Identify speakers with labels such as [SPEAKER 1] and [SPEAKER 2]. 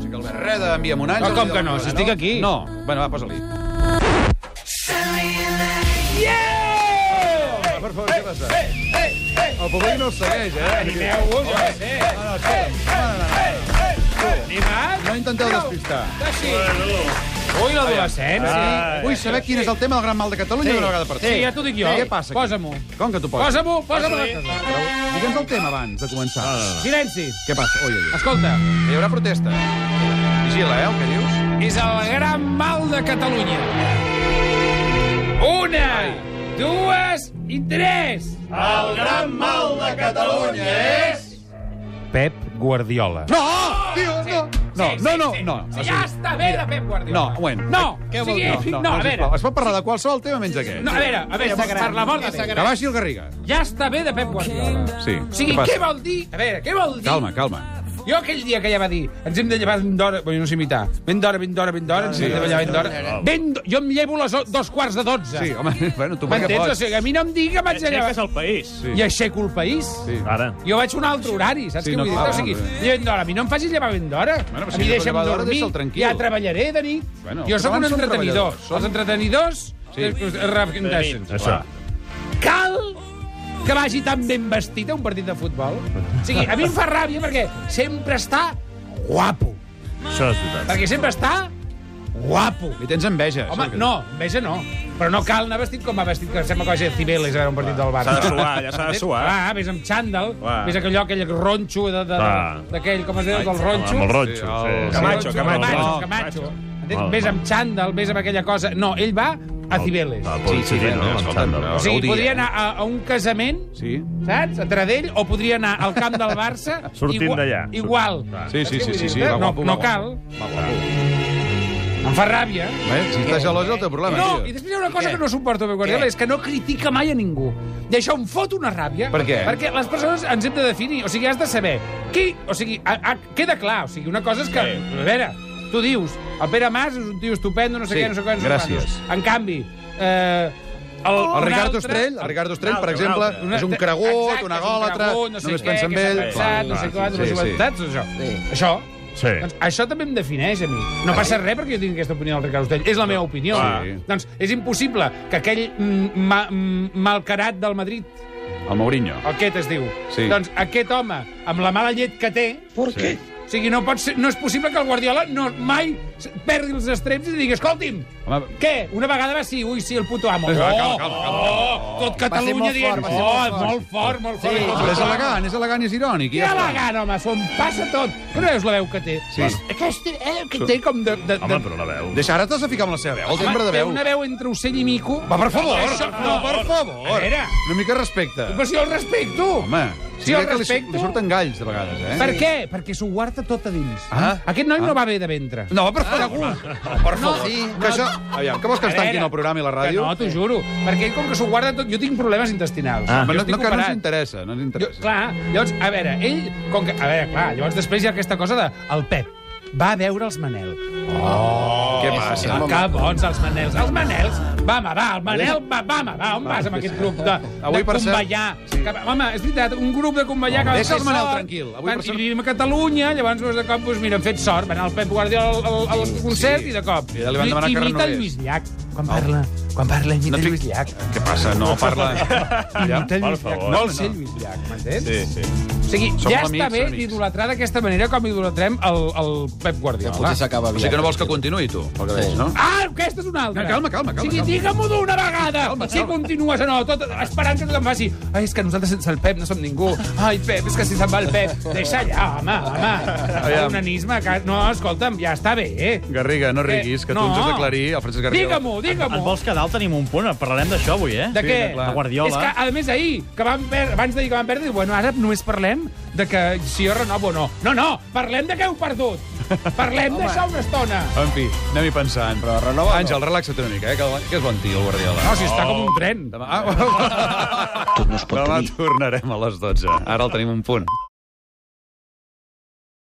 [SPEAKER 1] Freda, envia'm un àngel...
[SPEAKER 2] No, com que no?
[SPEAKER 1] i-
[SPEAKER 2] Si estic aquí.
[SPEAKER 1] No. Bueno, va, posa-li. Yeah! Per favor, què passa? El públic no el segueix, eh?
[SPEAKER 2] Animeu-vos, jo què sé.
[SPEAKER 1] No, no, escolta'm.
[SPEAKER 2] eh. Animat?
[SPEAKER 1] No intenteu despistar.
[SPEAKER 2] Així. Ui,
[SPEAKER 1] Ah,
[SPEAKER 2] l'adolescència.
[SPEAKER 1] Vull saber quin és el tema del gran mal de Catalunya d'una vegada per
[SPEAKER 2] Ah, Sí, ja t'ho dic jo.
[SPEAKER 1] Què passa? aquí?
[SPEAKER 2] Posa-m'ho.
[SPEAKER 1] Com que t'ho poses?
[SPEAKER 2] Posa-m'ho, posa-m'ho.
[SPEAKER 1] Digue'ns el tema abans de començar.
[SPEAKER 2] Silenci.
[SPEAKER 1] Què passa? Ui, ui,
[SPEAKER 2] Escolta,
[SPEAKER 1] ui. Hi haurà protesta. Vigila, eh, el que dius.
[SPEAKER 2] és el gran mal de Catalunya. Una, dues i tres.
[SPEAKER 3] Pep Guardiola.
[SPEAKER 1] No! Tio, no! No, no, no, no. O
[SPEAKER 2] Ja
[SPEAKER 1] sigui,
[SPEAKER 2] està bé de Pep Guardiola.
[SPEAKER 1] No, un moment.
[SPEAKER 2] No,
[SPEAKER 1] Què
[SPEAKER 2] o
[SPEAKER 1] vol
[SPEAKER 2] sigui,
[SPEAKER 1] dir?
[SPEAKER 2] no, a veure.
[SPEAKER 1] sisplau. Es pot parlar de qualsevol tema menys aquest.
[SPEAKER 2] No, a veure, a veure, per la mort de Déu.
[SPEAKER 1] Que baixi el Garriga.
[SPEAKER 2] Ja està bé de Pep Guardiola.
[SPEAKER 1] Sí.
[SPEAKER 2] O sigui,
[SPEAKER 1] Què passa?
[SPEAKER 2] què, vol dir? A veure, què vol dir?
[SPEAKER 1] Calma, calma.
[SPEAKER 2] Jo aquell dia que ja va dir, ens hem de llevar ben d'hora... Bé, no sé imitar. Ben d'hora, ben d'hora, ben d'hora, ens hem de llevar ben d'hora. Ben... d'ho- Jo em llevo les o- dos quarts de dotze.
[SPEAKER 1] Ah, Sí, home, bueno, tu perquè
[SPEAKER 2] M'entens? O
[SPEAKER 1] pots.
[SPEAKER 2] sigui, a mi no em digui que m'haig de llevar...
[SPEAKER 4] Aixeques el país.
[SPEAKER 1] Sí.
[SPEAKER 2] I aixeco el país.
[SPEAKER 1] Sí.
[SPEAKER 4] Ara.
[SPEAKER 2] Jo vaig a un altre horari, saps
[SPEAKER 1] Sí,
[SPEAKER 2] què
[SPEAKER 1] no,
[SPEAKER 2] vull dir?
[SPEAKER 1] clar,
[SPEAKER 2] o sigui,
[SPEAKER 1] no,
[SPEAKER 2] llevant d'hora. A mi no em facis llevar ben d'hora.
[SPEAKER 1] Bueno, però
[SPEAKER 2] a
[SPEAKER 1] si
[SPEAKER 2] mi
[SPEAKER 1] no
[SPEAKER 2] deixa'm
[SPEAKER 1] lleva d'hora,
[SPEAKER 2] dormir.
[SPEAKER 1] deixa'l tranquil.
[SPEAKER 2] Ja treballaré de nit.
[SPEAKER 1] Bueno,
[SPEAKER 2] jo
[SPEAKER 1] els
[SPEAKER 2] sóc un
[SPEAKER 1] catalans són
[SPEAKER 2] entretenidor.
[SPEAKER 1] treballadors.
[SPEAKER 2] Els entretenidors eh,
[SPEAKER 1] Sí.
[SPEAKER 2] es- es refundeixen.
[SPEAKER 4] Això.
[SPEAKER 2] Cal que vagi tan ben vestit a un partit de futbol. O sigui, a mi em fa ràbia perquè sempre està guapo.
[SPEAKER 4] Això és veritat.
[SPEAKER 2] Perquè sempre està guapo.
[SPEAKER 1] Li tens enveja.
[SPEAKER 2] Home,
[SPEAKER 1] això que-
[SPEAKER 2] no, veja no. Però no cal anar vestit com va vestit, que sembla que vagi de Cibeles a veure un partit del Barça.
[SPEAKER 4] S'ha de suar, ja s'ha de suar.
[SPEAKER 2] Clar, vés amb xandall,
[SPEAKER 4] Clar.
[SPEAKER 2] vés aquell, aquell ronxo de- de-
[SPEAKER 4] Clar.
[SPEAKER 2] d'aquell, com es deia, del ronxo.
[SPEAKER 4] Amb el ronxo.
[SPEAKER 1] Sí, el-
[SPEAKER 4] Sí.
[SPEAKER 1] Camacho, Camacho.
[SPEAKER 2] Camacho,
[SPEAKER 1] No,
[SPEAKER 2] Camacho.
[SPEAKER 4] Val,
[SPEAKER 2] Entens? Vés amb xandall, vés amb aquella cosa... No, ell va a Cibeles.
[SPEAKER 4] Ah,
[SPEAKER 1] Sí, sí,
[SPEAKER 4] sí,
[SPEAKER 1] no,
[SPEAKER 4] no,
[SPEAKER 1] escolta,
[SPEAKER 4] amb
[SPEAKER 1] no,
[SPEAKER 2] O sigui,
[SPEAKER 1] no ho
[SPEAKER 4] eh?
[SPEAKER 2] podria
[SPEAKER 1] diguem.
[SPEAKER 2] anar a, a un casament
[SPEAKER 1] Sí.
[SPEAKER 2] saps? A Tradell, o podria anar al camp del Barça...
[SPEAKER 4] Sortint
[SPEAKER 2] igua-
[SPEAKER 4] d'allà.
[SPEAKER 2] Igual.
[SPEAKER 1] Sí, sí,
[SPEAKER 2] Saps
[SPEAKER 1] sí,
[SPEAKER 2] què
[SPEAKER 1] sí,
[SPEAKER 2] vull
[SPEAKER 1] sí,
[SPEAKER 2] dir-te?
[SPEAKER 1] va
[SPEAKER 2] No,
[SPEAKER 1] guapo,
[SPEAKER 2] no
[SPEAKER 1] va
[SPEAKER 2] cal.
[SPEAKER 1] Va, guapo.
[SPEAKER 2] Em fa ràbia.
[SPEAKER 1] Bé, si estàs gelós és el teu problema,
[SPEAKER 2] No,
[SPEAKER 1] Ah, tio.
[SPEAKER 2] i després hi ha una cosa que no suporto, Pep Guardiola, és que no critica mai a ningú. I això em fot una ràbia.
[SPEAKER 1] Per què?
[SPEAKER 2] Perquè les persones ens hem de definir. O sigui, has de saber qui... O sigui, a, a, queda clar. O sigui, una cosa és que...
[SPEAKER 4] Sí.
[SPEAKER 2] A veure, tu dius, el Pere Mas és un tio estupendo, no sé
[SPEAKER 1] Sí,
[SPEAKER 2] què, no sé què, no sé
[SPEAKER 1] gràcies.
[SPEAKER 2] quantos. En canvi, eh, el,
[SPEAKER 1] El
[SPEAKER 2] un
[SPEAKER 1] Ricard
[SPEAKER 2] altre-
[SPEAKER 1] Ostrell, el Ricard Ostrell, per
[SPEAKER 4] altre, un
[SPEAKER 1] exemple,
[SPEAKER 4] altre.
[SPEAKER 1] és un
[SPEAKER 2] Exacte,
[SPEAKER 1] cregut,
[SPEAKER 2] és
[SPEAKER 1] un agòlatre,
[SPEAKER 2] cregut, no sé
[SPEAKER 1] només
[SPEAKER 2] què,
[SPEAKER 1] pensa en
[SPEAKER 2] que
[SPEAKER 1] ell.
[SPEAKER 2] s'ha pensat, No sé
[SPEAKER 1] Clar,
[SPEAKER 2] quant, no sé
[SPEAKER 1] sí,
[SPEAKER 2] quant,
[SPEAKER 1] sí.
[SPEAKER 2] saps, això? Això.
[SPEAKER 4] Sí.
[SPEAKER 2] Doncs això també em defineix a mi. No passa res perquè jo tingui aquesta opinió del Ricard Ostell. És la meva opinió.
[SPEAKER 1] Sí.
[SPEAKER 2] Doncs és impossible que aquell mm, ma, mm, malcarat del Madrid,
[SPEAKER 1] El Mourinho.
[SPEAKER 2] aquest es diu,
[SPEAKER 1] Sí.
[SPEAKER 2] doncs aquest home, amb la mala llet que té... Per
[SPEAKER 1] què?
[SPEAKER 2] O sigui, no, pot ser, no és possible que el Guardiola no, mai s- perdi els estreps i digui, escolti'm,
[SPEAKER 1] Home,
[SPEAKER 2] què? Una vegada va ser, ui, sí, el puto amo.
[SPEAKER 1] Va, calma,
[SPEAKER 2] Oh,
[SPEAKER 1] calma,
[SPEAKER 2] Oh, tot Catalunya
[SPEAKER 5] molt
[SPEAKER 2] dient,
[SPEAKER 5] fort, va ser
[SPEAKER 2] oh,
[SPEAKER 5] molt fort."
[SPEAKER 2] molt fort, molt fort.
[SPEAKER 5] Sí.
[SPEAKER 2] molt
[SPEAKER 1] Però és
[SPEAKER 2] fort."
[SPEAKER 1] elegant, és elegant i és irònic. i
[SPEAKER 2] Que
[SPEAKER 1] ja està.
[SPEAKER 2] elegant, home, s'ho empassa tot. Que no veus la veu que té?
[SPEAKER 1] Sí.
[SPEAKER 2] Aquesta, eh, que té com de... de, de...
[SPEAKER 4] Home, però la veu.
[SPEAKER 1] Deixa, ara t'has de ficar amb la seva veu. El timbre de
[SPEAKER 2] Té
[SPEAKER 1] veu.
[SPEAKER 2] una veu entre ocell i mico.
[SPEAKER 1] Va, per favor!
[SPEAKER 2] Això,
[SPEAKER 1] no, per favor!
[SPEAKER 2] A veure.
[SPEAKER 1] Una mica de respecte.
[SPEAKER 2] Però si jo el respecto.
[SPEAKER 1] Home,
[SPEAKER 2] si el
[SPEAKER 1] que li,
[SPEAKER 2] respecto.
[SPEAKER 1] li surten galls, de vegades, eh?
[SPEAKER 2] Per què? Perquè s'ho guarda tot a dins.
[SPEAKER 1] Ah.
[SPEAKER 2] Aquest noi no va bé de ventre.
[SPEAKER 1] No, per favor. per favor. No, sí, que això... Aviam, que vols que ens
[SPEAKER 2] A
[SPEAKER 1] tanquin
[SPEAKER 2] veure,
[SPEAKER 1] el programa i la
[SPEAKER 2] Que
[SPEAKER 1] ràdio?
[SPEAKER 2] no, t'ho juro. Perquè ell com que s'ho guarda tot... Jo tinc problemes intestinals.
[SPEAKER 4] Ah.
[SPEAKER 1] Home,
[SPEAKER 2] Jo
[SPEAKER 1] no,
[SPEAKER 2] estic
[SPEAKER 1] no, que no ens
[SPEAKER 2] operat.
[SPEAKER 1] interessa, no ens
[SPEAKER 2] Jo,
[SPEAKER 1] interessa.
[SPEAKER 2] clar, llavors, a veure, ell... Com que, a veure, clar, llavors després hi ha aquesta cosa de... El Pep va a veure els Manel.
[SPEAKER 1] Què
[SPEAKER 2] Oh, Sí,
[SPEAKER 1] passa?
[SPEAKER 2] que bons, els Manels. Els Manels, va, home, va, el Manel, va, va, home, va, on vas amb aquest grup de, de
[SPEAKER 1] Avui, per cert,
[SPEAKER 2] convallar?
[SPEAKER 1] sí.
[SPEAKER 2] Que, home, és veritat, un grup de convallar... que van
[SPEAKER 1] deixa
[SPEAKER 2] fer
[SPEAKER 1] el Manel
[SPEAKER 2] sort,
[SPEAKER 1] tranquil. Avui,
[SPEAKER 2] van,
[SPEAKER 1] per cert-
[SPEAKER 2] I vivim a Catalunya, llavors de cop, doncs, mira, han fet sort. Van anar al Pep Guardiola al, al, al concert
[SPEAKER 1] sí.
[SPEAKER 2] i de cop.
[SPEAKER 1] I ja li van demanar que
[SPEAKER 2] imita el
[SPEAKER 1] renovés.
[SPEAKER 2] Lluís Llach. Quan parla, quan parla, imita
[SPEAKER 1] No
[SPEAKER 2] no
[SPEAKER 1] et fic-
[SPEAKER 2] Lluís Llach.
[SPEAKER 1] Què passa? No parla... Ja,
[SPEAKER 2] Imita el
[SPEAKER 4] per
[SPEAKER 2] Lluís Llach.
[SPEAKER 4] favor.
[SPEAKER 2] Vol ser Lluís Llach, m'entens?
[SPEAKER 4] Sí, sí.
[SPEAKER 2] O sigui,
[SPEAKER 1] Som
[SPEAKER 2] ja
[SPEAKER 1] amics,
[SPEAKER 2] està bé
[SPEAKER 1] amics.
[SPEAKER 2] d'idolatrar d'aquesta manera com idolatrem el, el Pep Guardiola.
[SPEAKER 5] Potser s'acaba
[SPEAKER 1] O
[SPEAKER 5] aviat.
[SPEAKER 1] sigui que no vols que continuï, tu, el que veig, no?
[SPEAKER 2] Ah, aquesta és una altra.
[SPEAKER 1] No, calma, calma, calma,
[SPEAKER 2] O sigui,
[SPEAKER 1] calma.
[SPEAKER 2] digue-m'ho d'una vegada.
[SPEAKER 1] Calma,
[SPEAKER 2] Si
[SPEAKER 1] calma.
[SPEAKER 2] continues o no, tot, esperant que tothom faci... Ai, és que nosaltres sense el Pep no som ningú. Ai, Pep, és que si se'n va el Pep... Deixa allà, home, home.
[SPEAKER 1] Aviam.
[SPEAKER 2] Un anisme que... No, escolta'm, ja està bé, eh?
[SPEAKER 1] Garriga, no riguis, que tu
[SPEAKER 2] No.
[SPEAKER 1] ens has d'aclarir, el Francesc Garriga.
[SPEAKER 2] Digue-m'ho,
[SPEAKER 6] Et
[SPEAKER 2] digue-m'ho.
[SPEAKER 6] vols quedar al tenim un punt? Parlarem d'això avui, eh?
[SPEAKER 2] De
[SPEAKER 1] Sí,
[SPEAKER 2] què?
[SPEAKER 1] no, clar.
[SPEAKER 6] De
[SPEAKER 2] És que,
[SPEAKER 6] Guardiola.
[SPEAKER 2] a més, ahir, que van per... abans d'ahir que van perdre, diu, bueno, ara només parlem de que si jo renovo o no. No, no, parlem de que heu perdut. Parlem d'això una estona.
[SPEAKER 1] En fi, anem-hi pensant. Però renova... Àngel, relaxa't una mica, eh, que, que és bon tio, el Guardiola.
[SPEAKER 2] No, si està com un tren.
[SPEAKER 1] Demà... Ah, Tot no es pot Demà tornarem a les 12. Ara el tenim un punt.